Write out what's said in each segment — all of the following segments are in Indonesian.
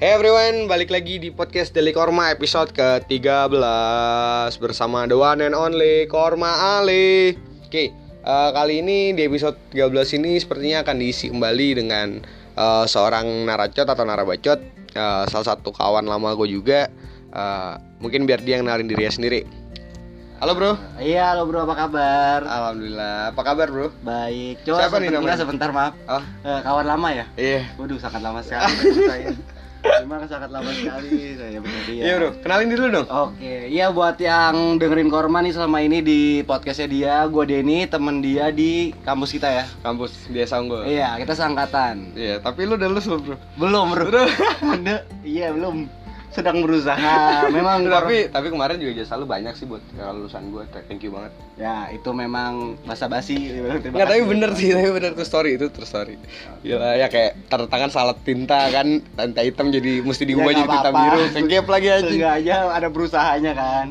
Hey everyone, balik lagi di podcast Deli Korma episode ke-13 Bersama the one and only Korma Ale Oke, eh, kali ini di episode 13 ini sepertinya akan diisi kembali dengan eh, seorang naracot atau narabacot eh, Salah satu kawan lama gue juga Eh, Mungkin biar dia yang kenalin dirinya sendiri Halo bro Iya, halo bro, apa kabar? Alhamdulillah, apa kabar bro? Baik. Coba Siapa nih sebentar, namanya? sebentar maaf. Oh, Eh, kawan lama ya? iya Waduh, sangat lama sekali betul saya. Memang sangat lama sekali saya bersedia. Iya bro, kenalin dulu dong Oke, iya buat yang dengerin Korma nih selama ini di podcastnya dia, gue Denny, temen dia di kampus kita ya. Kampus, biasa unggul Iya, kita seangkatan. Iya, tapi lu udah lulus belum bro? Belum, bro. Anda- iya belum. Sedang berusaha. Memang Kor- tapi tapi kemarin juga jasa lu banyak sih buat eh, lulusan gue thank you banget ya itu memang basa-basi. nggak tapi bener sih tapi bener tuh story itu terus story Gila ya kayak tanda tangan salah tinta kan tinta hitam jadi mesti diubah jadi nggak tinta apa-apa. biru kegep lagi Iya, anjing Enggak aja ada berusahanya kan.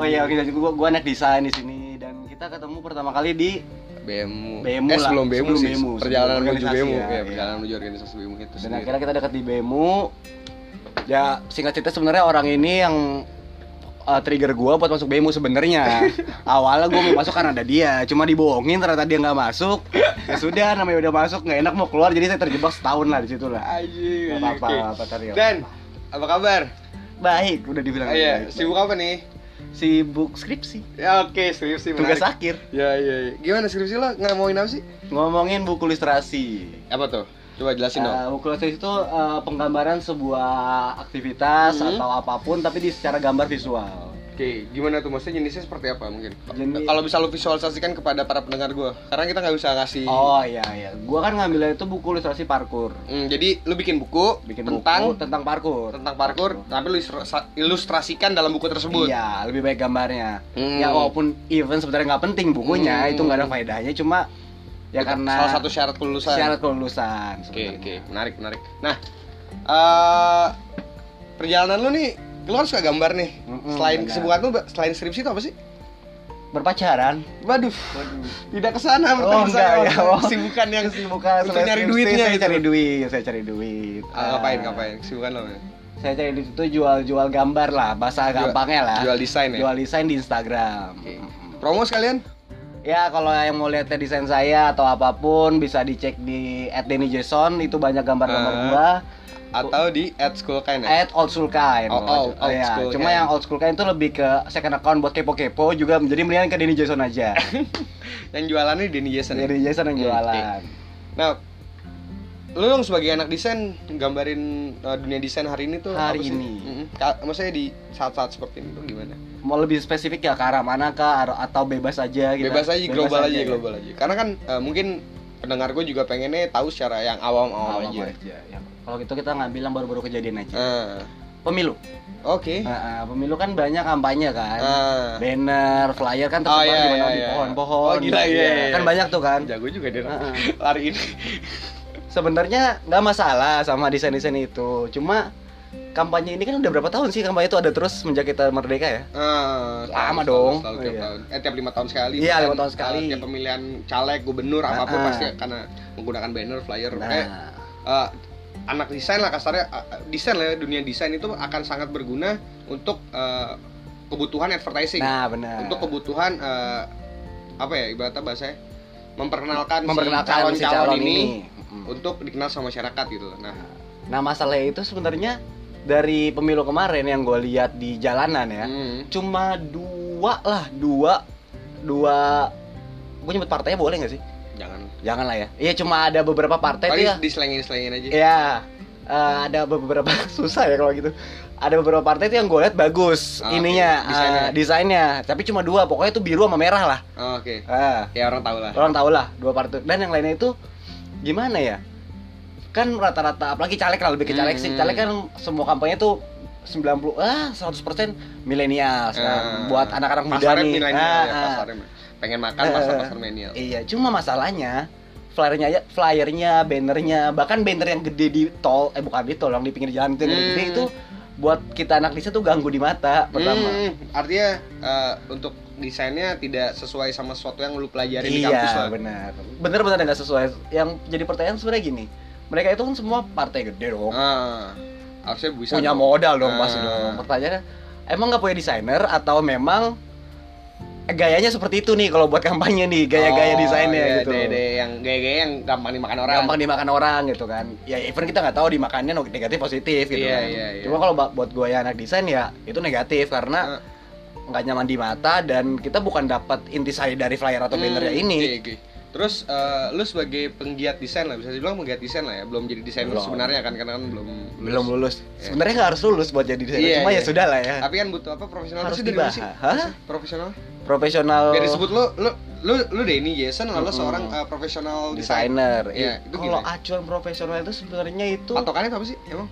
Oh iya oke jadi gua gua anak desain di sini dan kita ketemu pertama kali di BMU BMU eh lah, sebelum BMU sebelum sih BMU, perjalanan sebelum menuju organisasi BMU ya, ya kan? iya. perjalanan menuju organisasi BMU itu dan sendiri akhirnya kita dekat di BEMU. Ya singkat cerita sebenarnya orang ini yang uh, trigger gua buat masuk BEMU sebenarnya. Awalnya gua mau masuk karena ada dia, cuma dibohongin ternyata dia nggak masuk. Ya sudah namanya udah masuk nggak enak mau keluar jadi saya terjebak setahun lah di situ lah. Anjing, Nggak anjing, apa-apa, oke. nggak apa-apa, Tari, nggak dan apa kabar Baik udah dibilang. Ah, iya baik. sibuk apa nih sibuk skripsi. ya oke skripsi menarik. Tugas akhir ya iya iya. gimana skripsi lo ngomongin apa sih ngomongin buku ilustrasi. apa tuh coba jelasin dong Uh, Ukulele itu uh, penggambaran sebuah aktivitas Mhm. atau apapun tapi di secara gambar visual. Oke, gimana tuh maksudnya jenisnya seperti apa mungkin? Jenis- Kalau bisa lu visualisasikan kepada para pendengar gua, karena kita nggak bisa ngasih. Oh iya iya, gua kan ngambilnya itu buku ilustrasi parkur. Hmm, jadi lu bikin buku Bikin buku tentang tentang parkur. tentang parkur, tapi lu isra- ilustrasikan dalam buku tersebut. Iya, lebih baik gambarnya. Hmm. Ya walaupun event sebenarnya nggak penting bukunya, Hmm. itu nggak ada faedahnya cuma ya Itu karena salah satu syarat kelulusan. syarat kelulusan Oke, sebenarnya. oke, menarik, menarik. Nah, eh perjalanan lu nih, lu kan suka gambar nih. Mm-mm, selain benar. kesibukan lu, selain skripsi itu apa sih? Berpacaran? Waduh, tidak ke sana Oh, pertanyaan saya. enggak, ya. Oh. Kesibukan yang Bukan Untuk selain nyari skripsi, duitnya Saya gitu. cari duit, saya cari duit. Ah, ngapain, Ah. ngapain? Kesibukan lo. apa? ya? saya cari di situ jual-jual gambar lah, bahasa Jual- gampangnya lah. Jual desain ya. Jual desain di Instagram. Oke. Promo sekalian? Ya kalau yang mau lihat desain saya atau apapun bisa dicek di @dennyjason itu banyak gambar-gambar Ah. gua. atau di at school kind ya? At old school kind. Oh, oh, old Ya, school Cuma kind. yang old school kind itu lebih ke second account buat kepo-kepo juga. Jadi mendingan ke Denny Jason aja. yang jualannya di Denny Jason ya? Denny Jason yang Hmm, jualan. nah lu dong sebagai anak desain gambarin uh, dunia desain hari ini tuh Hari apa sih? ini. Mm-mm. Ka- maksudnya di saat-saat seperti ini tuh gimana Mau lebih spesifik ya ke arah mana kah Ar- atau bebas aja gitu. bebas aja global aja, global aja karena kan uh, mungkin pendengar gue juga pengennya tahu secara yang awam-awam Awam aja aja. Ya, Kalau gitu kita ngambil yang baru-baru kejadian aja. Ah, Pemilu. oke Ah, ah, pemilu kan banyak kampanye kan. Ah. Banner, flyer kan Oh, tersebar iya, di mana iya, di iya. pohon-pohon. Oh, gila, iya, iya, Kan iya. banyak tuh kan. jago juga dia Ah, ah. lari ini Sebenarnya nggak masalah sama desain-desain itu. Cuma kampanye ini kan udah berapa tahun sih kampanye itu ada terus semenjak kita merdeka ya? Ah, selalu- Lama dong. selalu- selalu tiap Iya. tahun. Eh, tiap lima tahun sekali. Iya, bahkan, lima tahun uh, sekali. tiap pemilihan caleg, gubernur, apapun Ah, ah. pasti karena menggunakan banner, flyer, Nah, eh, eh, anak desain lah kasarnya eh, eh, desain lah ya, dunia desain itu akan sangat berguna untuk eh, kebutuhan advertising nah benar. untuk kebutuhan eh, apa ya ibaratnya bahasanya memperkenalkan, si memperkenalkan si calon, calon-calon ini. ini, Mm. untuk dikenal sama masyarakat gitu loh. nah Nah masalahnya itu sebenarnya dari pemilu kemarin yang gue lihat di jalanan ya. hmm. cuma dua lah dua dua gue nyebut partainya boleh nggak sih jangan jangan lah ya iya cuma ada beberapa partai tuh paling ya diselengin selengin aja Iya, eh, ada beberapa susah ya kalau gitu ada beberapa partai tuh yang gue lihat bagus Ah, ininya oke. Desainnya. eh, desainnya tapi cuma dua pokoknya itu biru sama merah lah Oh, oke Ah, ya orang tahu lah orang tau lah dua partai dan yang lainnya itu gimana ya kan rata-rata apalagi caleg lah lebih ke caleg sih Hmm. caleg kan semua kampanye tuh 90 ah 100% milenial Ah. buat anak-anak muda pasarnya nih milenial Ah, ya ah. pasarnya pengen makan pasar pasar milenial Iya, cuma masalahnya flyernya aja, flyernya, bannernya, bahkan banner yang gede di tol, eh bukan di tol, yang di pinggir jalan itu yang Hmm. gede itu buat kita anak desa tuh ganggu di mata pertama. Hmm, artinya eh, untuk desainnya tidak sesuai sama sesuatu yang lu pelajari di kampus lah. iya, benar. Bener-bener nggak sesuai. Yang jadi pertanyaan sebenarnya gini, mereka itu kan semua partai gede dong. Ah, harusnya bisa punya dong. modal dong Nah. pasti dong. Pertanyaannya, emang nggak punya desainer atau memang gayanya seperti itu nih kalau buat kampanye nih gaya-gaya Oh, desainnya iya, gitu. deh, deh, yang gaya-gaya yang gampang dimakan orang Gampang dimakan orang gitu kan. Ya even kita nggak tahu dimakannya negatif positif gitu Iya, kan. iya, iya. Cuma kalau ba- buat gue ya anak desain ya itu negatif karena nggak nyaman di mata dan kita bukan dapat intisari dari flyer atau bannernya Hmm, ini. oke, oke. Terus eh, lu sebagai penggiat desain lah bisa dibilang penggiat desain lah ya, belum jadi desainer Belum. sebenarnya kan karena kan belum Belum lulus. lulus. Iya. Sebenarnya nggak harus lulus buat jadi desainer. Iya, Cuma iya. ya sudah lah ya. Tapi kan butuh apa profesional Harus itu dari mana dibahas. Apa Hah? Profesional. Profesional. Biar disebut lu lu lu lu Denny Jason lalu Eh, Mm-mm. seorang eh, profesional desain. desainer. Iya, Eh, itu kalau gimana? acuan profesional itu sebenarnya itu Patokannya kan itu apa sih? Emang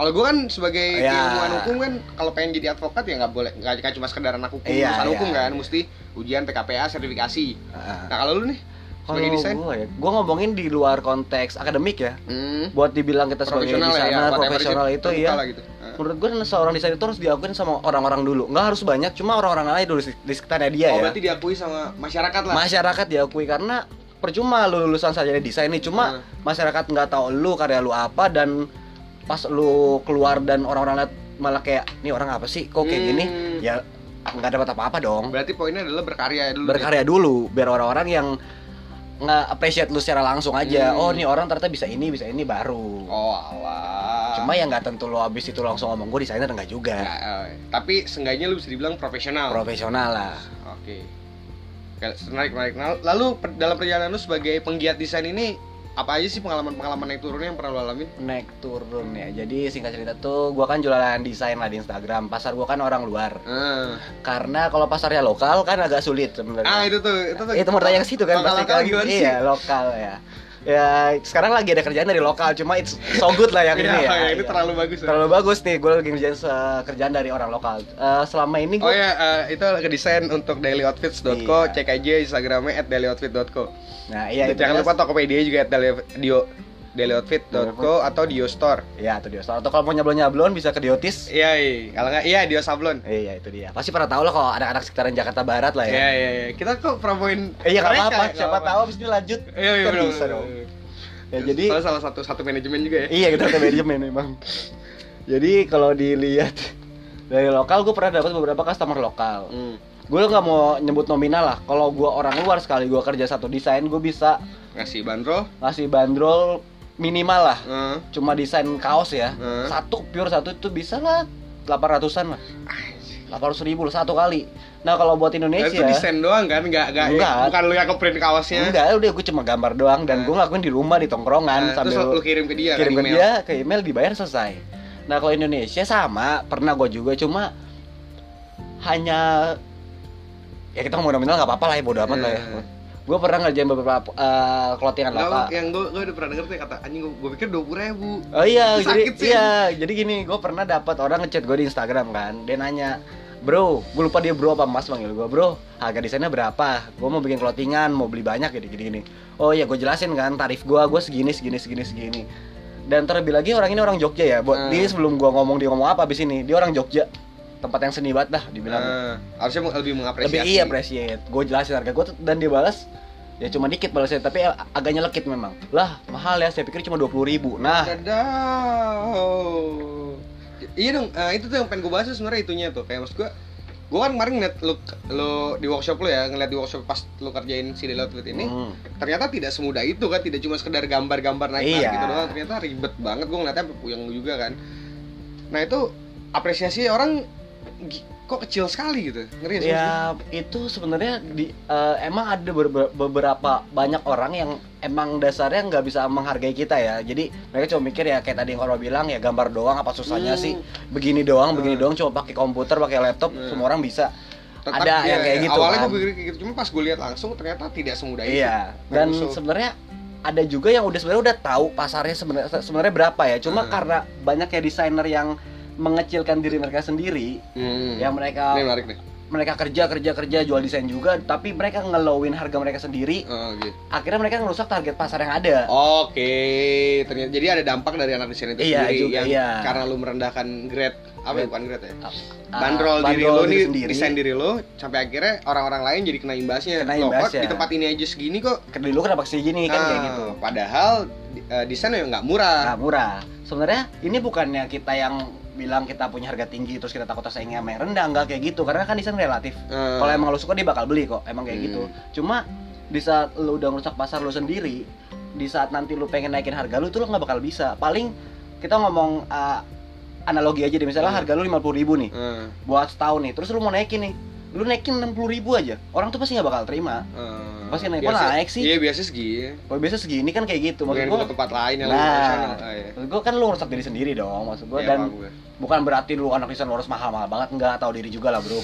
kalau gue kan sebagai Iya. keilmuan hukum kan kalau pengen jadi advokat ya nggak boleh nggak nggak cuma sekedar anak hukum Iya, urusan iya, hukum kan iya. mesti ujian PKPA sertifikasi Ah. nah kalau lu nih kalau sebagai desain gue ya, gue ngomongin di luar konteks akademik ya. hmm, Buat dibilang kita sebagai profesional ya, desainer whatever profesional itu terbuka ya. lah gitu. Heeh. Menurut gue seorang desainer itu harus diakuin sama orang-orang dulu. Nggak harus banyak, cuma orang-orang aja dulu di sekitarnya dia oh ya. berarti diakui sama masyarakat lah Masyarakat diakui karena percuma lu lulusan saja desain nih, cuma Hmm. masyarakat nggak tahu lu karya lu apa dan pas lu keluar dan orang-orang lihat malah kayak nih orang apa sih kok kayak gini Hmm. ya nggak dapat apa-apa dong berarti poinnya adalah berkarya dulu ya? berkarya dulu biar orang-orang yang nggak appreciate lu secara langsung aja Hmm. oh nih orang ternyata bisa ini bisa ini ya. baru oh alah cuma ya nggak tentu lo abis itu langsung ngomong gue desainer nggak juga Ya, eh, tapi seenggaknya lu bisa dibilang profesional profesional lah oke Oke, menarik menarik Nah, lalu per- dalam perjalanan lu sebagai penggiat desain ini apa aja sih pengalaman-pengalaman naik turunnya yang pernah lu alamin naik turun ya jadi singkat cerita tuh gue kan jualan desain lah di Instagram pasar gue kan orang luar Eh. karena kalau pasarnya lokal kan agak sulit ah sebenarnya itu tuh itu tuh itu mau tanya ke situ kan Lokal- pasti lokal kan gimana sih? iya lokal ya ya sekarang lagi ada kerjaan dari lokal cuma it's so good lah yang Iya, ini ya iya, ini Iya. terlalu bagus ya. Terlalu bagus nih, gue lagi ngerjain se- kerjaan dari orang lokal. Eh, selama ini Oh gue ya, eh, itu ke desain untuk dailyoutfits.co, Iya. cek aja instagramnya at dailyoutfit.co. Nah iya itu Jangan dia. lupa Tokopedia juga at daily, dio, dailyoutfit.co atau dio store. Iya itu dia. Atau kalau mau nyablon-nyablon bisa ke Diotis. Iya, iya. kalau nggak iya dio sablon. Iya itu dia. Pasti pernah tau lah kalau anak-anak sekitaran Jakarta Barat lah ya. Iya, iya, iya. Kita kok promoin Eh, Iya nggak mereka, ya? apa-apa. nggak Siapa tahu abis ini lanjut. Iya, iya, Kan bener, bisa bener, dong. bener. Ya jadi Iya, Soalnya salah satu satu manajemen juga ya. iya kita ke manajemen memang. Jadi kalau dilihat dari lokal gue pernah dapat beberapa customer lokal. Hmm. Gue nggak mau nyebut nominal lah. Kalau gue orang luar sekali gue kerja satu desain gue bisa Ngasih bandrol. ngasih bandrol minimal lah Heeh. cuma desain kaos ya Hmm. satu pure satu itu bisa lah 800an lah 800 ribu lah satu kali nah kalau buat Indonesia itu desain doang kan, nggak nggak Enggak. bukan lu yang ke print kaosnya. enggak udah gue cuma gambar doang dan gue ngelakuin di rumah di tongkrongan Nah, terus kan, lu sambil kirim ke dia kirim kan ke dia ke email dibayar selesai nah kalau Indonesia sama pernah gue juga cuma hanya ya kita ngomong nominal nggak apa-apa lah ya bodo amat lah ya Hmm. gue pernah ngerjain beberapa eh, clothingan Nggak, lokal yang gue gue udah pernah denger tuh kata anjing gue, pikir dua puluh ribu. Oh iya, Itu jadi sakit sih. iya, jadi gini, gue pernah dapat orang ngechat gue di Instagram kan, dia nanya, bro, gue lupa dia bro apa mas manggil gue, bro, harga desainnya berapa? Gue mau bikin clothingan, mau beli banyak gitu, gini gini. Oh iya, gue jelasin kan, tarif gue, gue segini segini segini segini. Dan terlebih lagi orang ini orang Jogja ya, buat Hmm. dia sebelum gue ngomong dia ngomong apa abis ini, dia orang Jogja, tempat yang seni banget dah, dibilang Nah, harusnya meng- lebih lebih mengapresiasi. iya appreciate gue jelasin harga gue dan dia balas ya cuma dikit balasnya tapi ag- agak nyelekit memang lah mahal ya saya pikir cuma dua ribu nah Dadah. Iya dong, eh, itu tuh yang pengen gue bahas tuh sebenarnya itunya tuh. Kayak maksud gue, gue kan kemarin ngeliat lu, lu di workshop lu ya, ngeliat di workshop pas lu kerjain si Deloitte Tweet ini, Hmm. ternyata tidak semudah itu kan, tidak cuma sekedar gambar-gambar naik-naik Iya. gitu doang. Ternyata ribet banget, gue ngeliatnya sampai puyeng juga kan. Nah itu apresiasi orang gi- kok kecil sekali gitu, ngeri ya, sih? Ya itu sebenarnya di eh, emang ada berbe- beberapa banyak orang yang emang dasarnya nggak bisa menghargai kita ya. Jadi mereka cuma mikir ya kayak tadi yang orang bilang ya gambar doang apa susahnya Hmm. sih? Begini doang, begini Hmm. doang cuma pakai komputer, pakai laptop, Hmm. semua orang bisa. Tetap ada dia- yang kayak gitu. Awalnya kan. gue pikir kayak gitu, cuma pas gue lihat langsung ternyata tidak semudah itu. Iya. Nggak Dan musuh. sebenarnya ada juga yang udah sebenarnya udah tahu pasarnya sebenarnya sebenarnya berapa ya. Cuma Hmm. karena banyak ya desainer yang mengecilkan diri mereka sendiri, Hmm. yang mereka Ini menarik nih. mereka kerja kerja kerja jual desain juga, tapi mereka ngelowin harga mereka sendiri. Oh, gitu. akhirnya mereka ngerusak target pasar yang ada. Oke, ternyata jadi ada dampak dari anak desain itu Iya, sendiri juga, yang kan iya. karena lu merendahkan grade apa ya, bukan grade ya? Ah, Bandrol, diri lu nih, sendiri, desain diri lu sampai akhirnya orang-orang lain jadi kena imbasnya. Kena Loh, kok imbasnya. di tempat ini aja segini kok. Dulu kenapa segini kan kayak Ah, gitu. Padahal di- eh, desain ya nggak murah. Nah, murah. sebenarnya ini bukannya kita yang bilang kita punya harga tinggi terus kita takut saingnya sama yang rendah nggak kayak gitu karena kan desain relatif Eh, kalau emang lo suka dia bakal beli kok emang kayak Hmm. gitu cuma di saat lo udah ngerusak pasar lo sendiri di saat nanti lo pengen naikin harga lo tuh lo nggak bakal bisa paling kita ngomong uh, analogi aja deh misalnya Hmm. harga lo 50.000 ribu nih eh, buat setahun nih terus lo mau naikin nih lo naikin 60.000 ribu aja orang tuh pasti nggak bakal terima eh, pasti naik biasa- naik sih Iya biasa segi. kalau biasa segini kan kayak gitu maksud Mungkin gua ke tempat lain yang Nah. lebih sana. Ah, iya. maksud gua kan lo ngerusak diri sendiri dong maksud gua Iya, dan paham gue. bukan berarti lu anak desain lo harus mahal-mahal banget nggak tahu diri juga lah bro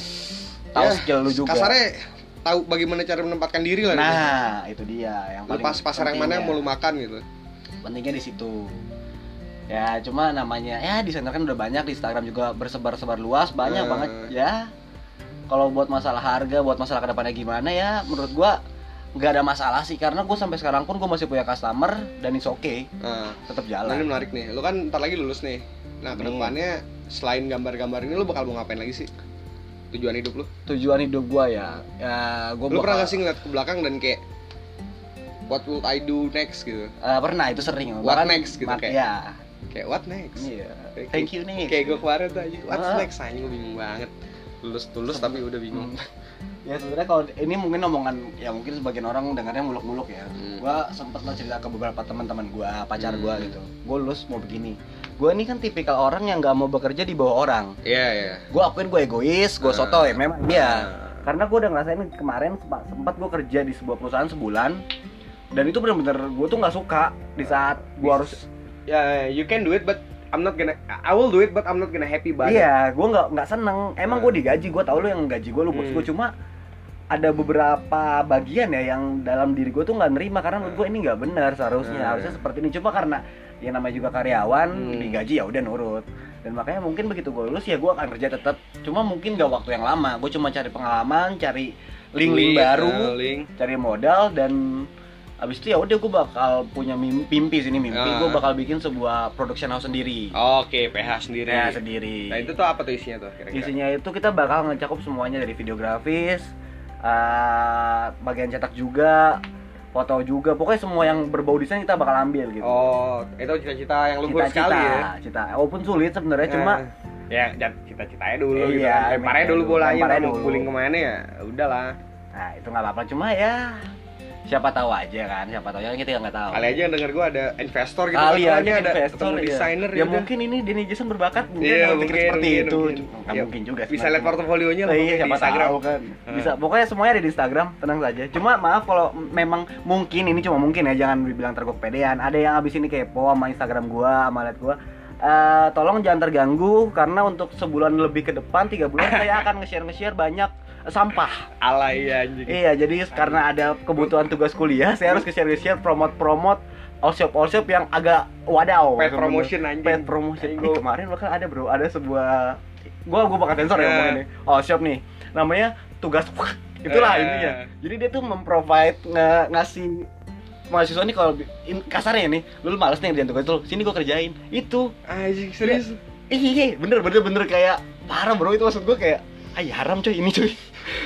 tahu Ya, skill lu juga kasarnya tahu bagaimana cara menempatkan diri lah. nah itu dia yang gitu. paling ya. lepas pasar yang mana yang mau pentingnya. lu makan gitu. pentingnya di situ ya cuma namanya ya desainer kan udah banyak di Instagram juga bersebar-sebar luas banyak Eh. banget ya kalau buat masalah harga buat masalah kedepannya gimana ya menurut gua nggak ada masalah sih karena gue sampai sekarang pun gue masih punya customer dan it's okay Nah, tetap nah, ini jalan menarik nih. Lu kan ntar lagi lulus nih. Nah, Amin. kedepannya selain gambar-gambar ini lu bakal mau ngapain lagi sih? Tujuan hidup lu? tujuan hidup gua ya ya gue Lu pernah gak sih ngeliat ke belakang dan kayak what will I do next gitu? eh, pernah itu sering What next gitu, mak- kayak? ya Kayak what next? iya Kayak- thank you nih Kayak gue kemarin tuh aja, what's Ah. next? Anjing gue bingung banget. Lulus lulus tapi udah bingung. Hmm. ya sebenarnya kalau ini mungkin omongan ya mungkin sebagian orang dengarnya muluk-muluk ya Hmm. gua sempet lah cerita ke beberapa teman-teman gua pacar Hmm. gua gitu gua lulus mau begini gua ini kan tipikal orang yang nggak mau bekerja di bawah orang Iya, iya. gua akuin gua egois gua Ah. sotoy memang iya Ah. karena gua udah ngerasain kemarin sempat, sempat gua kerja di sebuah perusahaan sebulan dan itu bener-bener gua tuh nggak suka di saat gua harus ya you can do it but I'm not gonna I will do it but I'm not gonna happy about it. Iya, gue nggak nggak seneng. Emang gue digaji, gue tau lu yang gaji gue lu bos Hmm. gue cuma ada beberapa bagian ya yang dalam diri gue tuh nggak nerima karena menurut gue ini nggak benar seharusnya Hmm. harusnya seperti ini cuma karena ya namanya juga karyawan Hmm. digaji ya udah nurut dan makanya mungkin begitu gue lulus ya gue akan kerja tetap cuma mungkin gak waktu yang lama gue cuma cari pengalaman cari Link, link-link baru eh, link. cari modal dan abis itu ya udah gue bakal punya mimpi, mimpi sini mimpi Ah. gue bakal bikin sebuah production house sendiri Oke, PH sendiri. ya sendiri Nah, itu tuh apa tuh isinya tuh kira-kira? Isinya itu kita bakal ngecakup semuanya dari videografis, eh, bagian cetak juga, foto juga, pokoknya semua yang berbau desain kita bakal ambil gitu. Oh, itu cita-cita yang luhur Cita-cita, sekali ya. Cita, walaupun sulit sebenarnya Nah, cuma Eh, ya jat- cita-citanya dulu Iya, gitu. kan. Lemparnya iya, dulu dulu, bolanya lemparnya mau dulu. guling kemana ya? Udahlah. nah itu nggak apa-apa cuma ya siapa tahu aja kan, siapa tahu aja kan kita nggak tahu. Kali aja yang denger gua ada investor gitu. Kali kan, aja ada investor, ketemu iya. desainer Ya gitu. mungkin ini Denny Jason berbakat mungkin Iya, orang pikir mungkin, seperti mungkin, itu. mungkin. Nggak Ya, mungkin juga. bisa sebenarnya. lihat portofolionya lah iya, mungkin siapa di Instagram. tahu kan. Bisa pokoknya semuanya ada di Instagram, tenang saja. Cuma maaf kalau m- memang mungkin ini cuma mungkin ya, jangan dibilang tergok pedean. Ada yang abis ini kepo sama Instagram gua, sama liat gua. Eh, tolong jangan terganggu karena untuk sebulan lebih ke depan tiga bulan saya akan nge-share nge-share banyak eh, sampah. Alay anjing. Iya, jadi karena ada kebutuhan tugas kuliah, saya harus nge-share nge-share promote-promote all shop all shop yang agak wadaw. Pet sebenarnya. promotion anjing. Pet promotion. Anjing, Ih, gua- kemarin bakal ada bro, ada sebuah gua gua bakal sensor ya Eh. ngomongin ini. Oh, siap nih. Namanya tugas itulah Eh. intinya. Jadi dia tuh memprovide nge- ngasih mahasiswa nih kalau bi- in- kasarnya nih, lu males nih ngerjain tugas lu. Sini gua kerjain. Itu. Anjing serius. Ih, Ih, ih, bener bener bener kayak parah bro itu maksud gua kayak ay haram coy ini coy.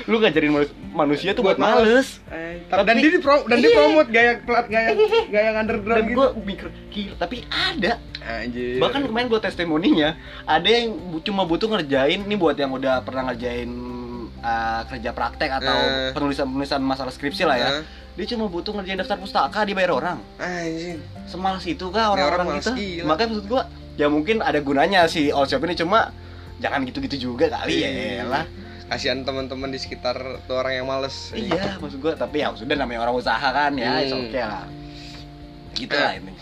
Lu ngajarin manus- manusia tuh buat, Buat males. Eh, Iya. Tapi- dan dia di pro- dan dia Iya. promote gaya pelat gaya gaya yang underground Dan gitu. gua mikir gila, tapi ada Anjir. Bahkan kemarin gue testimoninya ada yang bu- cuma butuh ngerjain ini buat yang udah pernah ngerjain uh, kerja praktek atau Eh. penulisan-penulisan masalah skripsi lah ya. Hah? Dia cuma butuh ngerjain daftar pustaka dibayar orang. Anjing. Semalas itu Ya, kah orang orang-orang malas kita? gila. Makanya maksud gua ya mungkin ada gunanya si all shop ini cuma jangan gitu-gitu juga kali Iya. ya lah. Kasihan teman-teman di sekitar tuh orang yang males. Iya, maksud gua tapi ya sudah namanya orang usaha kan ya, it's Hmm. okay lah. Gitu lah ini.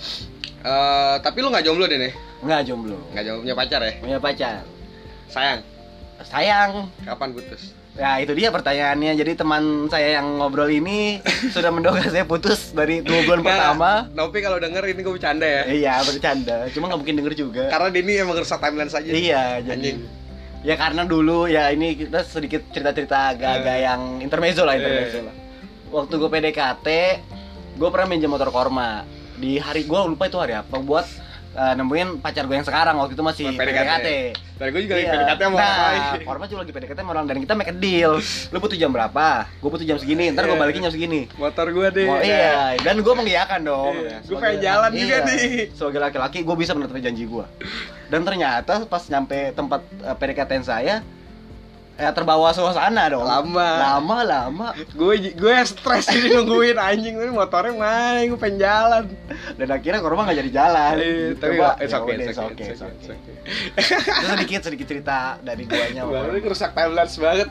Eh, tapi lu nggak jomblo deh nih. Enggak jomblo. Nggak jomblo punya pacar ya? Punya pacar. Sayang. Sayang, Kapan putus? Ya itu dia pertanyaannya. Jadi teman saya yang ngobrol ini sudah mendoga saya putus dari dua Nah. bulan pertama. Nopi kalau denger ini gue bercanda ya. Iya bercanda, cuma nggak mungkin denger juga. Karena Denny emang rusak timeline saja. Iya jadi. Anjing. Ya karena dulu ya ini kita sedikit cerita-cerita agak-agak yang intermezzo lah intermezzo Eh. lah. Waktu gue PDKT, gue pernah minjem motor korma di hari gue lupa itu hari apa buat eh, eh, nemuin pacar gue yang sekarang waktu itu masih Masih PDKT. PDKT. Dan gue juga lagi Iya. PDKT sama orang nah, lain. Korma juga lagi PDKT sama orang dan kita make a deal. Lu butuh jam berapa? Gue butuh jam segini, ntar gue Iya. balikin jam segini. Motor gue deh. Mau- iya, dan gue mengiyakan dong. Iya, Ya, gua sebagai- pengen jalan juga nih. Sebagai laki-laki, gue bisa menepati janji gue. Dan ternyata pas nyampe tempat eh, PDKT saya, ya terbawa suasana dong. Lama. lama, lama. Gue gue stres ini nungguin anjing ini motornya mana? Gue pengen jalan. Dan akhirnya korban nggak jadi jalan. Eh, Tapi Nah, Coba, it's ya okay, udah, it's it's okay, okay, it's okay. it's okay. Terus sedikit sedikit cerita dari guanya. Baru ini rusak timelines banget.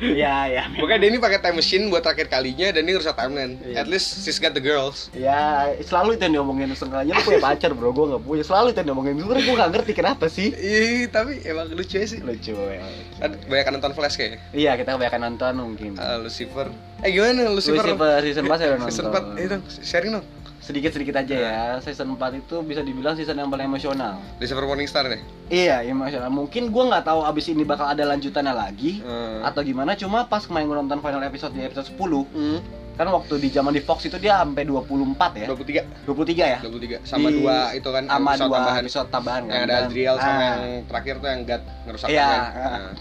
Iya, iya. Makanya Denny pakai time machine buat terakhir kalinya dan ini rusak timeline. Iya. At least she's got the girls. Ya, selalu itu yang diomongin sengkanya lu punya pacar bro, gue gak punya Selalu itu yang diomongin, sebenernya gue gak ngerti kenapa sih Ih, tapi emang lucu aja sih. Lucu ya Kan banyak nonton Flash kayaknya. Iya, kita kebanyakan nonton mungkin Ah, Lucifer. Eh gimana Lucifer? Lucifer season 4 saya udah nonton Season 4 itu Eh. sharing Iya dong. Sedikit-sedikit aja ya, season 4 itu bisa dibilang season yang paling emosional Lucifer Morningstar nih. Iya, emosional Mungkin gue gak tahu abis ini bakal ada lanjutannya lagi Hmm. Atau gimana, cuma pas kemarin gue nonton final episode di episode 10 Hmm. Kan waktu di zaman di Fox itu dia sampai 24 ya 23, 23 ya 23 sama Di- dua itu kan sama episode dua tambahan. episode tambahan kan Yang ada Dan- Adriel sama Ah. yang terakhir tuh yang God ngerusak Iya. kan. Nah.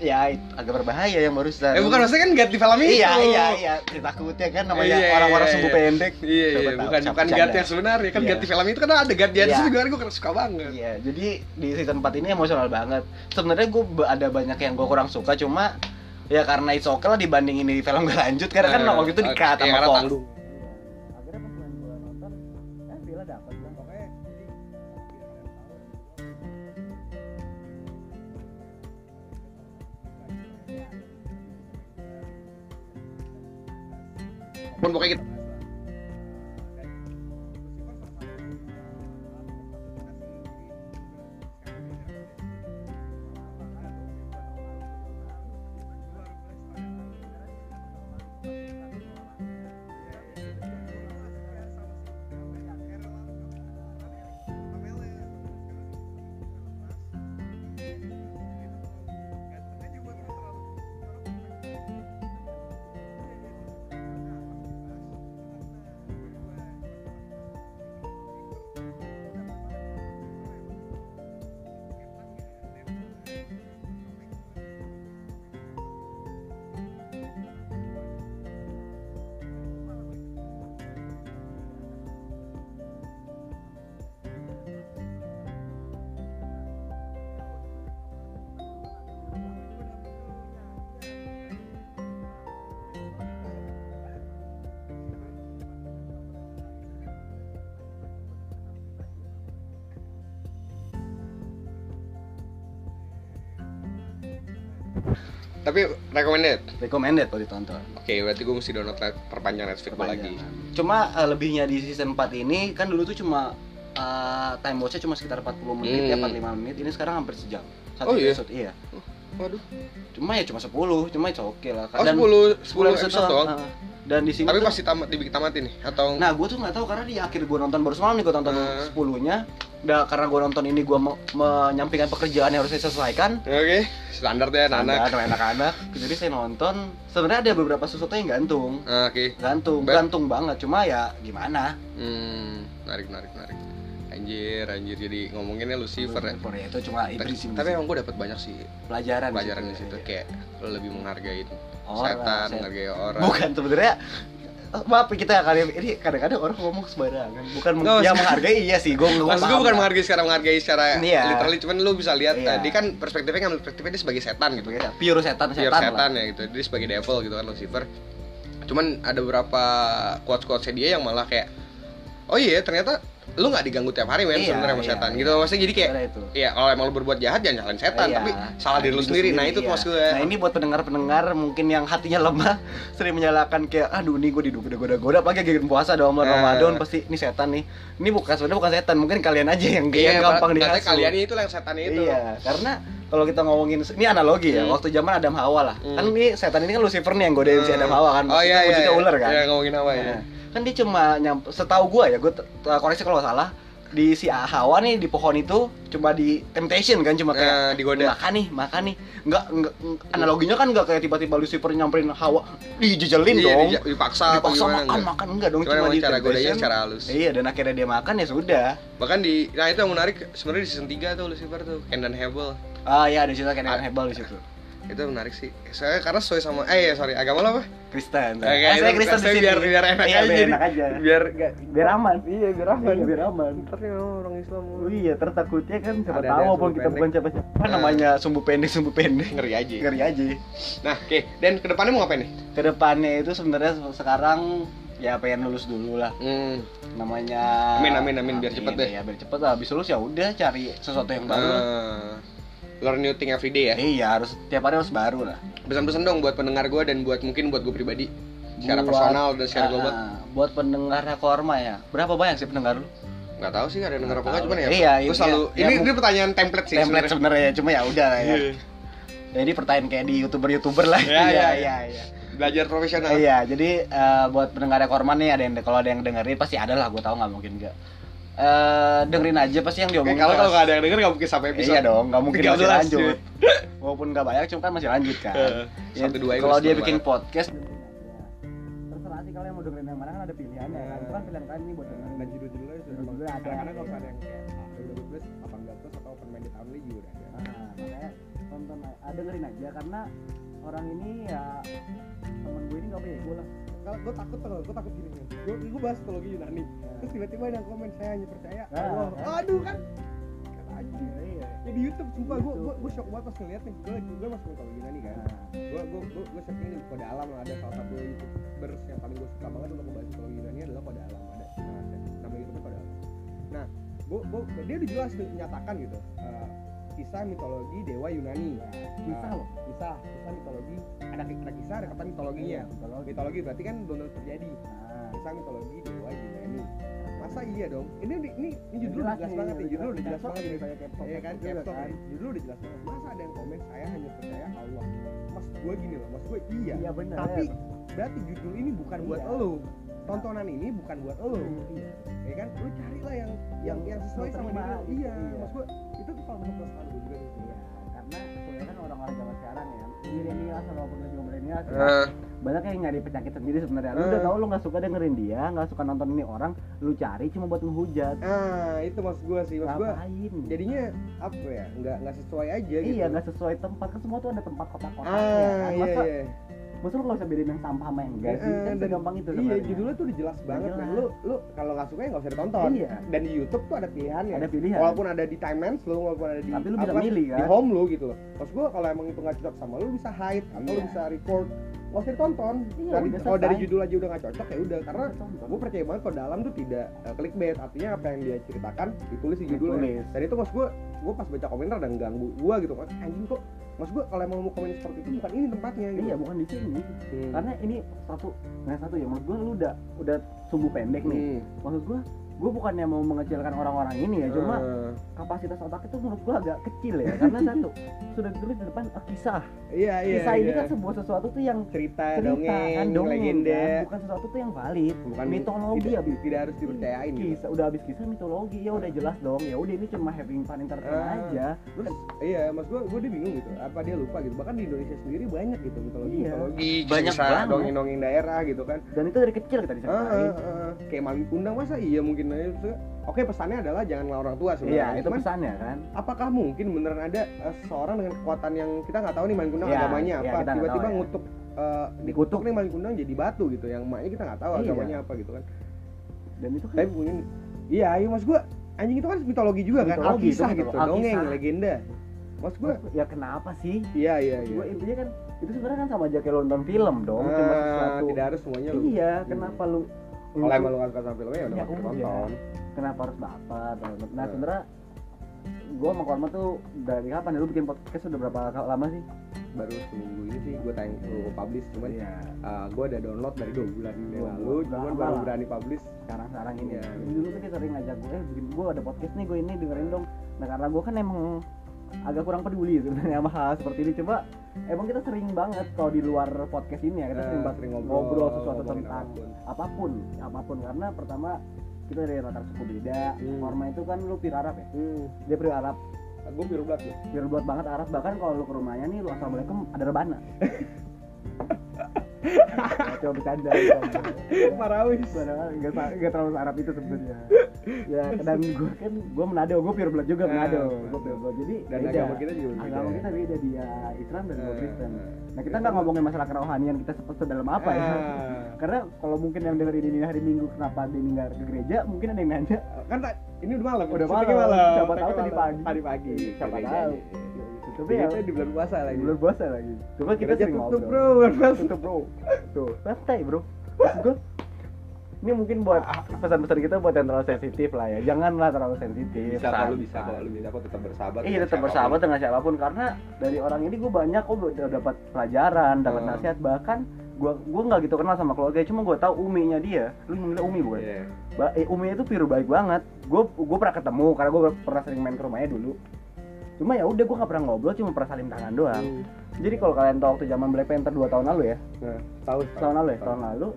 ya it- agak berbahaya yang barusan. Eh bukan maksudnya kan God di film itu. Iya iya iya cerita takutnya kan namanya Iya, orang-orang iya, sumbu iya. pendek. Iya, Siapa iya, tahu, bukan siapa bukan bercanda. God yang sebenarnya kan Iya. God di film itu kan ada God di atas Iya. juga gue suka banget. Iya jadi di season 4 ini emosional banget. Sebenarnya gue ada banyak yang gue kurang suka cuma ya karena it's okay lah dibanding ini di film gue lanjut karena kan Eh, waktu itu di cut iya, sama karena Fox. tanggung. Akhirnya pas gue nonton, eh Bella dapat bilang pokoknya Pun pokoknya gitu. kita tapi recommended. recommended kalau ditonton. Oke, berarti gue mesti download net- perpanjang Netflix gua lagi. Kepanjangan. Cuma eh, lebihnya di season 4 ini kan dulu tuh cuma eh, time watch-nya cuma sekitar 40 menit ya Hmm. 45 menit. Ini sekarang hampir sejam. Oh, iya? episode, iya. Waduh. Cuma ya cuma 10, cuma itu oke lah. Oh, 10 10 episode, doang. eh, dan di sini Tapi tuh- pasti tamat dibikin tamatin nih atau Nah, gue tuh nggak tahu karena di akhir gue nonton baru semalam nih gue nonton Hmm. 10-nya. Nah, karena gue nonton ini gue me- menyampaikan pekerjaan yang harus saya selesaikan. Oke, standar deh anak. Standar, anak-anak. Jadi saya nonton. Sebenarnya ada beberapa sesuatu yang gantung. Ah, Oke. Gantung, Bet. gantung banget. Cuma ya gimana? Hmm, menarik menarik menarik. Anjir, anjir jadi ngomonginnya Lucifer ya. Korea Iya, itu cuma Iblis Tapi emang gue dapat banyak Nah, sih pelajaran pelajaran di ya, situ ya. kayak lo lebih menghargai Orang, setan, set- menghargai orang. bukan sebenarnya eh, maaf kita kali ini kadang-kadang orang ngomong sembarangan bukan Nggak, yang maksud- menghargai iya sih gue nggak Maksud gue bukan menghargai secara menghargai secara Iya. literally, cuman lo bisa lihat Iya. tadi kan perspektifnya ngambil perspektifnya dia sebagai setan gitu. pure Pure setan setan, setan, lah ya gitu. Dia sebagai devil gitu kan Lucifer. Cuman ada beberapa quotes-quotesnya dia yang malah kayak oh iya ternyata lu nggak diganggu tiap hari men Iya, sebenarnya sama iya, setan iya. gitu maksudnya jadi kayak Sebenarnya itu Iya, kalau emang lu berbuat jahat jangan nyalain setan, Iya. tapi salah diri lu sendiri. Nah, itu tuh iya. maksud gue. Nah ini buat pendengar-pendengar mungkin yang hatinya lemah sering menyalahkan kayak aduh ini gue digoda-goda-goda pakai gigit puasa dong Eh. Ramadan pasti ini setan nih. Ini bukan sebenarnya bukan setan mungkin kalian aja yang Iya, yang gampang katanya dihasut. kalian itu yang setan itu. Iya, karena kalau kita ngomongin ini analogi Gitu. ya, Hmm. waktu zaman Adam Hawa lah. Hmm. Kan ini setan ini kan Lucifer nih yang godain si Hmm. Adam Hawa kan. Oh iya Maksudnya iya. wujudnya iya. ular kan. Iya, ngomongin apa ya. Nah, kan dia cuma nyampe setahu gua ya, gua t- t- koreksi kalau salah, di si Hawa nih di pohon itu cuma di temptation kan cuma kayak Eh, digoda. makan nih makan nih nggak, nggak analoginya kan nggak kayak tiba-tiba Lucifer nyamperin Hawa dijejelin Iya, dong dija- dipaksa apa dipaksa gimana, makan enggak? makan enggak dong Cuman cuma emang di cara godanya temptation secara halus. iya dan akhirnya dia makan ya sudah Bahkan di nah itu yang menarik sebenarnya di season 3 tuh Lucifer tuh Kendan Hebel. ah iya ada cerita kayak Ah. hebel di situ Itu menarik sih. Saya karena sesuai sama eh ya, sorry, agama lo apa? Iya. Kristen Oke, Ah, saya itu Kristen di saya sini biar- biar enak aja Iya, biar jadi. enak aja Biar Nggak, biar aman iya biar aman. biar aman ntar ya orang Islam. Oh iya, tertakutnya kan siapa Ada-ada tahu yang walaupun sumbu kita pendek. bukan siapa-siapa Nah. namanya sumbu pendek sumbu pendek. Ngeri aja. Ngeri aja. Nah, oke. Dan kedepannya mau ngapain nih? Kedepannya itu sebenarnya se- sekarang ya pengen lulus dulu lah Hmm. namanya Amin, amin, amin, biar cepet deh. ya biar cepet lah habis lulus ya udah cari sesuatu yang baru lah. eh, learn new thing every day ya. iya harus tiap hari harus baru lah Pesan-pesan dong buat pendengar gue dan buat mungkin buat gue pribadi secara Buat- personal dan secara global. Ah, buat pendengar korma ya berapa banyak sih pendengar lu Nggak tahu sih ada yang denger apa enggak Nggak cuman ya. tahu. Iya, gue iya. selalu Ya, ini mungkin- ini pertanyaan template sih template sebenarnya. sebenarnya cuma ya udah lah ya Iya. jadi pertanyaan kayak di youtuber youtuber lah Iya, iya, iya, iya. Belajar profesional. Iya, jadi eh, buat pendengar Korman nih ada yang kalau ada yang dengerin pasti ada lah, gue tahu nggak mungkin nggak. Eh, dengerin aja pasti yang Oke, diomongin. kalau tuh kalau as- nggak ada yang denger nggak mungkin sampai episode. Iya dong, nggak mungkin masih 13, lanjut. Walaupun nggak banyak, cuma kan masih lanjut kan. Eh, Ya, satu dua kalau episode dia doang. bikin podcast dengerin aja. terserah sih kalian mau dengerin yang mana kan ada pilihannya kan. Itu kan pilihan kalian nih buat dengerin. dan judul-judul aja sudah Judul-judul ada. kadang-kadang kalau ada yang kayak judul plus 18 plus atau open minded only juga udah ada Nah, makanya tonton aja, ah, dengerin aja karena orang ini ya temen gue ini nggak bego lah. kalau gue takut tuh gue takut gini nih gue gue bahas mitologi Yunani terus tiba-tiba ada yang komen saya hanya percaya Nah, Allah kan. aduh kan kan anjing Nah, iya. ya di YouTube sumpah gue YouTube. gue gue shock banget pas ngeliat nih gue gue masuk mitologi Yunani kan Nah. gue gue gue gue shocknya di kode alam lah ada salah satu youtubers yang paling gue suka banget untuk ngebahas mitologi Yunani adalah kode alam ada ada nama youtube kode alam nah gue gue dia udah jelas tuh, menyatakan gitu eh, kisah mitologi dewa Yunani Bisa loh. kisah kisah mitologi ada ada kisah ada kata mitologinya Kalau gitu. mitologi berarti kan belum tentu terjadi Nah. kisah mitologi dewa Yunani masa iya dong ini ini ini, ini judul Jelas udah jelas nih, banget nih udah judul udah jelas jelas banget nih, nih kayak Capcom iya kan juga Capcom kan. kan judul udah jelas banget masa ada yang komen saya hanya percaya Allah mas gue gini loh mas gue iya Iya benar. tapi berarti judul ini bukan buat Iya. elu tontonan ini bukan buat elu Iya. ya kan lu carilah yang yang yang sesuai Lu sama terima, diri lu gitu. iya Iya. mas gue itu tuh salah satu keresahan gue juga tuh Iya, karena sebenarnya kan orang-orang zaman sekarang ya milenial sama pun juga milenial sih, Eh, banyak yang nyari penyakit sendiri sebenarnya lu Eh. udah tau lu nggak suka dengerin dia nggak suka nonton ini orang lu cari cuma buat ngehujat ah itu mas gue sih mas gue ngapain jadinya apa ya nggak nggak sesuai aja gitu iya nggak sesuai tempat kan semua tuh ada tempat kotak-kotaknya ah kan iya masa iya masa lu nggak usah bedain yang sampah sama yang enggak sih Eh, kan dan- segampang itu Iya, sebenarnya. judulnya tuh udah jelas banget jelas. dan lu lu kalau nggak suka ya nggak usah ditonton. Iya. Dan di YouTube tuh ada pilihannya. ada pilihan Iya. Walaupun ada di timelines lu, walaupun ada di tapi lu bisa apa, milih kan di home lu gitu loh. Terus gua kalau emang itu nggak cocok sama lu lu bisa hide atau lu Iya. bisa record. Nggak usah ditonton. Iya, Dari- udah kalau dari selesai. judul aja udah nggak cocok ya udah karena Contoh. gue percaya banget kalau dalam tuh tidak eh, clickbait artinya apa yang dia ceritakan ditulis di judulnya Ditulis. dan itu mas gue gue pas baca komentar dan ganggu gue gitu kan anjing kok mas gue kalau emang mau komen seperti itu bukan ini tempatnya gitu iya bukan di sini Hmm. karena ini satu nah satu ya menurut gua lu udah udah sumbu pendek nih Hmm. maksud gua gua bukannya mau mengecilkan orang-orang ini ya cuma Eh, kapasitas otak itu menurut gua agak kecil ya karena satu sudah ditulis di depan ah, kisah iya iya kisah ini iya. kan sebuah sesuatu tuh yang cerita, cerita dongeng, kan dongeng legenda kan? bukan sesuatu tuh yang valid bukan mitologi Iya. tidak, habis tidak harus dipercayain gitu. kisah udah habis kisah mitologi ya udah jelas dong ya udah ini cuma having fun entertain Ah, aja terus iya mas gua gua dia bingung gitu apa dia lupa gitu bahkan di Indonesia sendiri banyak gitu mitologi Iya. mitologi Banyak kisah-kisah banget. dongeng dongeng daerah gitu kan dan itu dari kecil kita Iya, Ah, diceritain ah, ah. kayak maling kundang masa iya mungkin aja Maksudnya, oke pesannya adalah jangan ngelawan orang tua sebenarnya iya itu Cuman, pesannya kan apakah mungkin beneran ada eh, seorang dengan kekuatan yang kita nggak tahu nih maling kundang Iya, agamanya iya, apa kita nggak tiba-tiba tahu ya. ngutuk eh, dikutuk Dikutuk. nih maling kundang jadi batu gitu yang maknya kita nggak tahu Iya. agamanya apa gitu kan dan itu kan tapi mungkin iya iya mas gua anjing itu kan mitologi juga kan Mitologi, alkisah itu gitu mitologi. dongeng Alkisah. legenda mas gua ya kenapa sih iya iya iya gue intinya kan itu sebenarnya kan sama aja kayak lu nonton film dong cuma Ah, sesuatu tidak harus semuanya lu Hmm. iya kenapa lu kalau emang lu nggak suka sama filmnya ya udah Ya, nggak usah udah. nonton kenapa harus baper nah Hmm. sebenarnya gue sama Korma tuh dari kapan ya lu bikin podcast udah berapa ka- lama sih baru seminggu ini sih gua tayang gua publish cuman ya ah, gua udah download dari dua bulan yang Dua lalu bulan, cuman lama baru lah. berani publish sekarang sekarang ini Iya. dulu tuh kita sering ngajak gue eh bikin gue ada podcast nih gue ini dengerin dong nah karena gue kan emang agak kurang peduli sebenarnya sama hal seperti ini coba emang kita sering banget kalau di luar podcast ini ya kita Eh, sering banget sering ngobrol, ngobrol sesuatu ngomongin tentang apapun. apapun apapun karena pertama kita dari latar suku beda Hmm. korma itu kan lu pir Arab ya hmm. dia pir Arab Ah, gue biru black ya pir buat banget Arab bahkan kalau lu ke rumahnya nih lu assalamualaikum ada rebana Ya, coba bercanda bercanda. Marawis Padahal nggak sa- nggak terlalu Arab itu sebenarnya. ya dan gue kan gue Manado, gue pure blood juga Ah, Manado. Manado. Gue pure blood. Jadi dan beda. agama kita juga berbeda agama ya. kita beda dia Islam dan gue Eh, Kristen. eh. Nah kita nggak ngomongin masalah kerohanian kita se- sedalam apa ya. Ah. Karena kalau mungkin yang dengerin ini hari Minggu kenapa Denny nggak ke gereja, mungkin ada yang nanya. Ah, kan tak- ini udah malam Udah syutingnya malam. Siapa Tag tahu tadi malam. pagi. tadi pagi Siapa Tadi tahu. aja. Tapi ya Kita di bulan puasa lagi belum puasa lagi. Coba kita Gereja sering tutup ngobrol. bro bulan puasa tutup bro tuh santai bro maksud gue ini mungkin buat pesan-pesan kita buat yang terlalu sensitif lah ya janganlah terlalu sensitif Bisa kok, lu santai. bisa kok, lu bisa kok tetap bersahabat. Iya dengan tetap siapapun. bersahabat dengan siapapun karena dari orang ini gue banyak kok udah dapat pelajaran, dapat Hmm. nasihat bahkan gue gue nggak gitu kenal sama keluarga cuma gue tahu uminya dia lu manggilnya umi bukan Iya. ba eh, uminya itu piru baik banget gue gue pernah ketemu karena gue pernah sering main ke rumahnya dulu cuma ya udah gue nggak pernah ngobrol cuma pernah salim tangan doang Hmm. jadi kalau kalian tahu waktu zaman Black Panther 2 tahun lalu ya Nah, tahu tahun lalu ya tahun lalu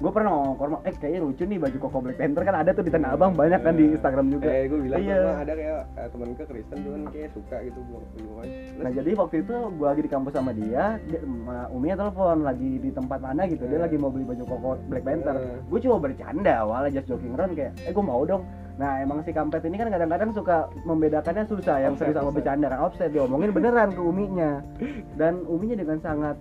gue pernah ngomong ke Orma, eh kayaknya lucu nih baju koko Black Panther kan ada tuh di Tanah Abang banyak kan di Instagram juga eh gue bilang Iya. sama ada kayak eh, temen ke Kristen cuman kayak suka gitu gua belum aja. nah jadi waktu itu gue lagi di kampus sama dia, dia ma- Umi telepon lagi di tempat mana gitu dia Eh. lagi mau beli baju koko Black Panther Eh. gue cuma bercanda awalnya just joking around kayak eh gue mau dong nah emang si kampret ini kan kadang-kadang suka membedakannya susah yang Offset, serius sama offset. bercanda kan offset diomongin beneran ke uminya dan uminya dengan sangat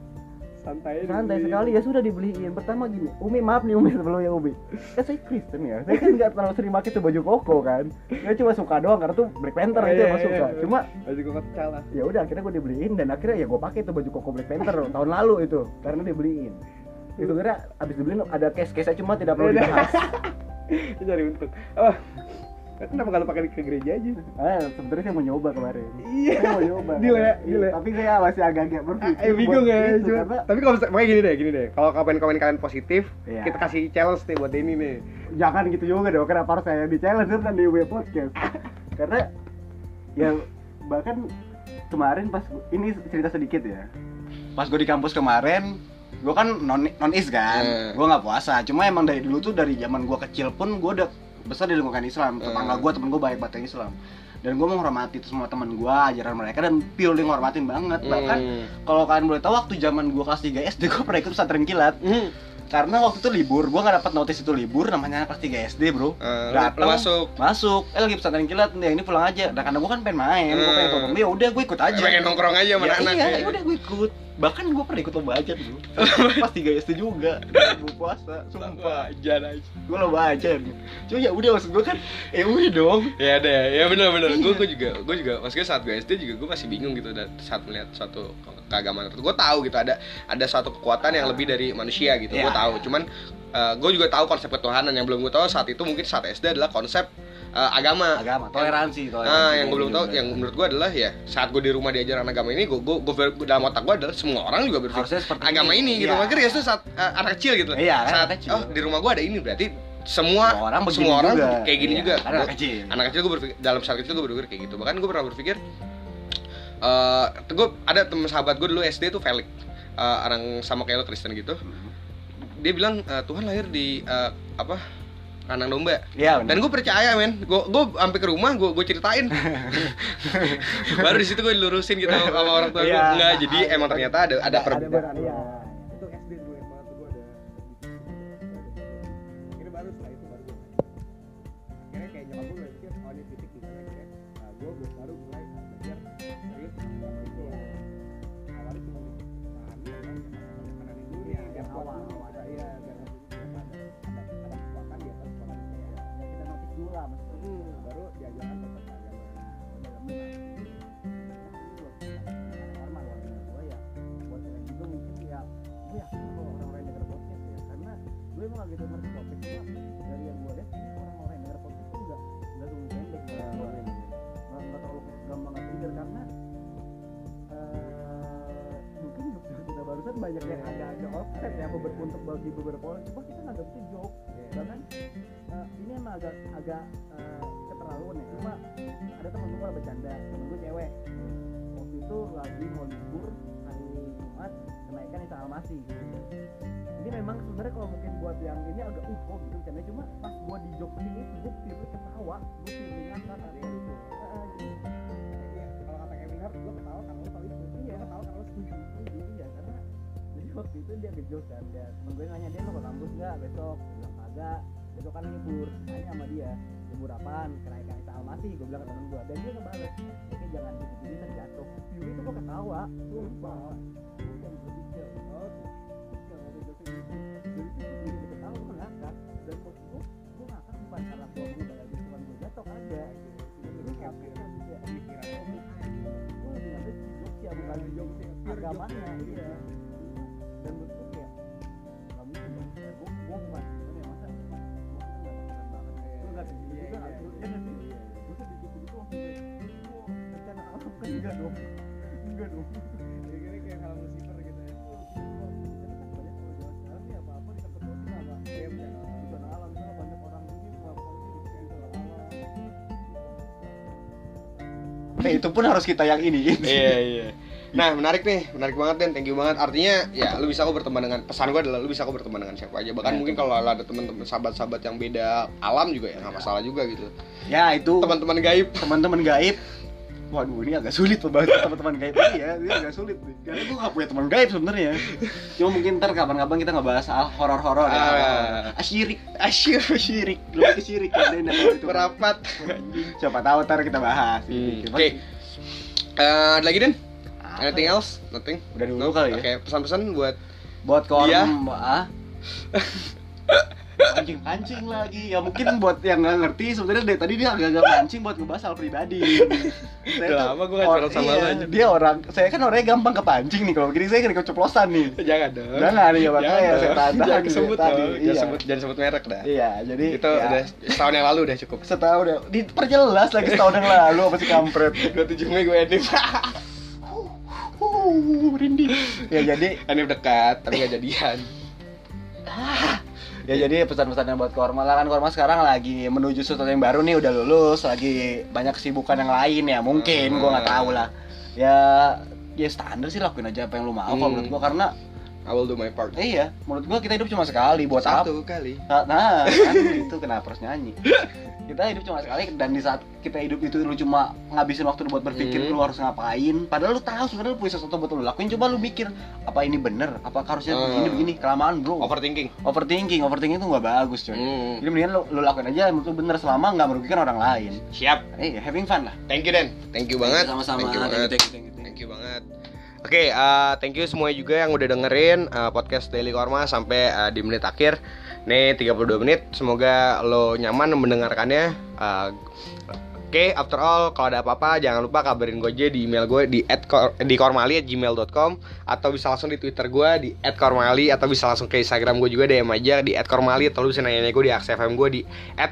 santai aja santai dibeli. sekali ya sudah dibeliin pertama gini Umi maaf nih Umi sebelumnya Umi kan saya Kristen ya saya kan nggak terlalu sering pakai tuh baju koko kan saya cuma suka doang karena tuh Black Panther Iya, itu emang iya, suka iya. cuma Masih gue kecil lah ya udah akhirnya gue dibeliin dan akhirnya ya gue pakai tuh baju koko Black Panther tahun lalu itu karena dibeliin itu kira abis dibeliin ada case case cuma tidak perlu Udah. dibahas Ini cari untung oh kenapa kalau pakai ke gereja aja ah, sebenarnya saya mau nyoba kemarin iya saya mau nyoba Gila ya, Iya, gila ya. tapi saya masih agak-agak berpikir eh bingung buat ya itu, cuman- karena tapi kalau misalnya makanya gini deh gini deh kalau komen-komen kalian positif Iya. kita kasih challenge nih buat Denny nih jangan gitu juga dong kenapa harus saya di challenge dan di web podcast karena ya bahkan kemarin pas gua- ini cerita sedikit ya pas gue di kampus kemarin gue kan non non is Eh. kan gue nggak puasa cuma emang dari dulu tuh dari zaman gue kecil pun gue udah besar di lingkungan Islam tetangga Eh. gue temen gue baik banget yang Islam dan gue menghormati itu semua teman gue ajaran mereka dan purely ngormatin banget bahkan Hmm. kalau kalian boleh tahu waktu zaman gue kelas 3 SD gue pernah ikut pesantren kilat Hmm. karena waktu itu libur gue nggak dapat notice itu libur namanya anak kelas 3 SD bro Eh, lu- Datang. lu masuk. masuk eh lagi pesantren kilat nih yang ini pulang aja nah karena gue kan pengen main gue pengen Hmm. tonton ya udah gue ikut aja Pengen nongkrong aja sama Ya, anak-anak. iya, ya. ya udah gue ikut. Bahkan gue pernah ikut lomba aja dulu. Pas 3 SD juga. Gue puasa, Sumpah, sumpah. aja aja. Gue lomba aja. Cuma ya udah maksud gue kan, eh udah dong. Ya ada ya, ya benar benar. Iya. Gue juga, gue juga. Maksudnya saat gue SD juga gue masih bingung gitu dan saat melihat suatu ke- keagamaan tertentu. Gue tahu gitu ada ada suatu kekuatan yang lebih dari manusia gitu. Gue Iya. tahu. Cuman gue juga tahu konsep ketuhanan yang belum gue tahu saat itu mungkin saat SD adalah konsep eh, agama. Agama, iya, toleransi, toleransi. Nah, yang gue belum tahu, juga. yang menurut gue adalah ya saat gue di rumah diajaran agama ini, gue gue dalam otak gue adalah semua orang juga berpikir harusnya seperti agama ini gitu. Iya. Makanya itu saat eh, anak kecil gitu. Iya, kan, saat anak kecil. oh di rumah gue ada ini berarti Semua semua orang begini semua orang juga. kayak gini Iya, juga. Karena Gua- anak kecil. anak kecil gue berpikir dalam saat kecil gue berpikir kayak gitu bahkan gue pernah berpikir eh gue ada teman sahabat gue dulu SD tuh Felix Eh, orang sama kayak lo Kristen gitu dia bilang eh, Tuhan lahir di eh, apa kandang domba Iya, benar. dan gue percaya men gue gue sampai ke rumah gue gue ceritain baru di situ gue dilurusin gitu sama orang tua gue Iya. nggak jadi emang ternyata ada ada, per- ada ber- Iya. iya. itu SD dulu yang banget gue ada ini baru setelah itu baru gue akhirnya kayak nyokap gue mulai mikir oh ini titik di mana kayak nah, gue baru baru mulai belajar serius sama itu loh awalnya cuma ya, pahami tentang makanan dulu Iya, ya biar kuat awal, dulu. awal. iya biar kuat dulu, biar ada ada ada kekuatan di atas kekuatan saya Ya, kita notice dulu lah maksudnya baru diajarkan tentang agama banyak yang ada-ada offset ya beber- untuk bagi beberapa orang cuma kita nggak dapetin joke bahkan eh, ini emang agak agak eh, keterlaluan ya cuma ada temen gue bercanda temen gue cewek waktu itu lagi mau libur hari Jumat banget kenaikan Isa Almasi ini memang sebenarnya kalau mungkin buat yang ini agak uh kok gitu bercanda cuma pas gua di jok ini gue pure ketawa gue pure nyangka karena itu Heeh, jadi- Iya, kalau kata Kevin Hart, gue ketawa karena lo tau itu. Iya. Iya, ketawa karena lo setuju. iya karena jadi waktu itu dia ke Jogja kan dia temen gue nanya dia mau ke kampus nggak besok Dia bilang kagak besok kan libur nanya sama dia libur apaan kenaikan Isa Almasi gue bilang ke temen gue dan dia ngebales oke jangan gitu gini terjatuh Yuk itu gue ketawa sumpah Gue yang lebih jauh Oh, Iya, waktu itu sih. Jadi itu gue jadi ketawa gue ngakak dan waktu itu gue ngakak bukan karena gue berubah lagi bukan gue jatuh aja jadi Kevin Hart Iya, pikiran lo tuh "Ah, gue lebih ngambil di Jogja bukan bukan di jok sih, pure jok. agamanya iya ya." dan menurut gue kayak nggak mungkin dong kayak gue gue bukan Kristen ya masa gue nggak keren banget Iya, gue nggak iya, segitu juga iya, nggak iya, segitu kan sih iya. gue tuh dikit gitu waktu itu gue bencana alam kan enggak dong enggak dong Jadi kayak film Lucifer gitu ya. Bencana kan banyak kalau jalan sekarang ya apa apa kita berdua sih nggak Iya, bener. bencana alam karena banyak orang ini melakukan itu bencana alam Nah, itu pun harus kita yang ini. iya iya nah menarik nih menarik banget dan thank you banget artinya ya lu bisa kok berteman dengan pesan gua adalah lu bisa kok berteman dengan siapa aja bahkan Iya, mungkin kalau ada teman-teman sahabat-sahabat yang beda alam juga ya nggak masalah juga gitu ya, itu teman-teman gaib teman-teman gaib. Waduh, ini agak sulit banget teman-teman gaib. Iya, ini agak sulit nih. Karena gue gak punya teman gaib sebenarnya. Cuma mungkin ntar kapan-kapan kita ngebahas soal horor-horor ya. Ah. Asyirik, asyir, syirik. Lebih ke syirik kan Dena, kalau itu. berapat Siapa tahu ntar kita bahas. Iya, Hmm, Cuma- oke Eh, ada lagi Den? Apa Anything ya? else? Nothing? Udah dulu kali ya. Oke, pesan-pesan buat buat korma ah. Iya. pancing pancing lagi ya mungkin buat yang nggak ngerti sebenarnya dari tadi dia agak-agak pancing buat ngebahas hal pribadi saya Udah tuh lama gua nggak or- curhat sama iya, lo, anjing. dia orang saya kan orangnya gampang kepancing nih kalau begini saya kena keceplosan nih Jangan dong. Jangan, iya, makanya Jangan dong. saya tahan-tahan Jangan dari sebut tadi, dong. Jangan iya. sebut jangan sebut merek dah. iya jadi Itu ya, Gitu, udah setahun yang lalu udah cukup. setahun udah diperjelas lagi setahun yang lalu apa sih kampret 27 Mei gue ending. Huh, rindih ya jadi Ending dekat tapi gak jadian. ya jadi pesan-pesannya buat Korma lah kan Korma sekarang lagi menuju sesuatu yang baru nih udah lulus lagi banyak kesibukan yang lain ya mungkin gua nggak tahu lah ya ya standar sih lakuin aja apa yang lu mau kalau Hmm. menurut gua karena I will do my part. eh, iya menurut gua kita hidup cuma sekali buat apa Satu kali. nah, nah kan itu kenapa harus nyanyi kita hidup cuma sekali dan di saat kita hidup itu lu cuma ngabisin waktu buat berpikir Hmm. lu harus ngapain padahal lu tahu sebenarnya lu punya sesuatu buat lu lakuin coba lu mikir apa ini bener apa harusnya Hmm. begini begini kelamaan bro Overthinking. overthinking overthinking itu nggak bagus coy Hmm. jadi mendingan lo, lo lakuin aja yang menurut lo bener selama nggak merugikan orang lain. Siap. Eh, having fun lah. Iya. Thank you Den. Thank you banget. Sama-sama. Thank you Thank you, banget. thank you, thank you, thank you. Thank you banget. Oke, eh, thank you semuanya juga yang udah dengerin eh, podcast Daily Korma sampai eh, di menit akhir. Nih 32 menit. Semoga lo nyaman mendengarkannya. Eh, Oke, after all, kalau ada apa-apa jangan lupa kabarin gue aja di email gue di @kor- di kormali@gmail.com atau bisa langsung di Twitter gue di @kormali atau bisa langsung ke Instagram gue juga DM aja di @kormali atau lu bisa nanya-nanya gue di AXFM gue di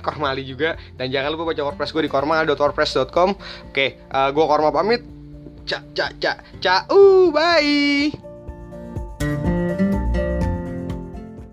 @kormali juga dan jangan lupa baca WordPress gue di korma.wordpress.com. Oke, eh, gue Korma pamit. Cak, cak, cak, cak, uh, bye.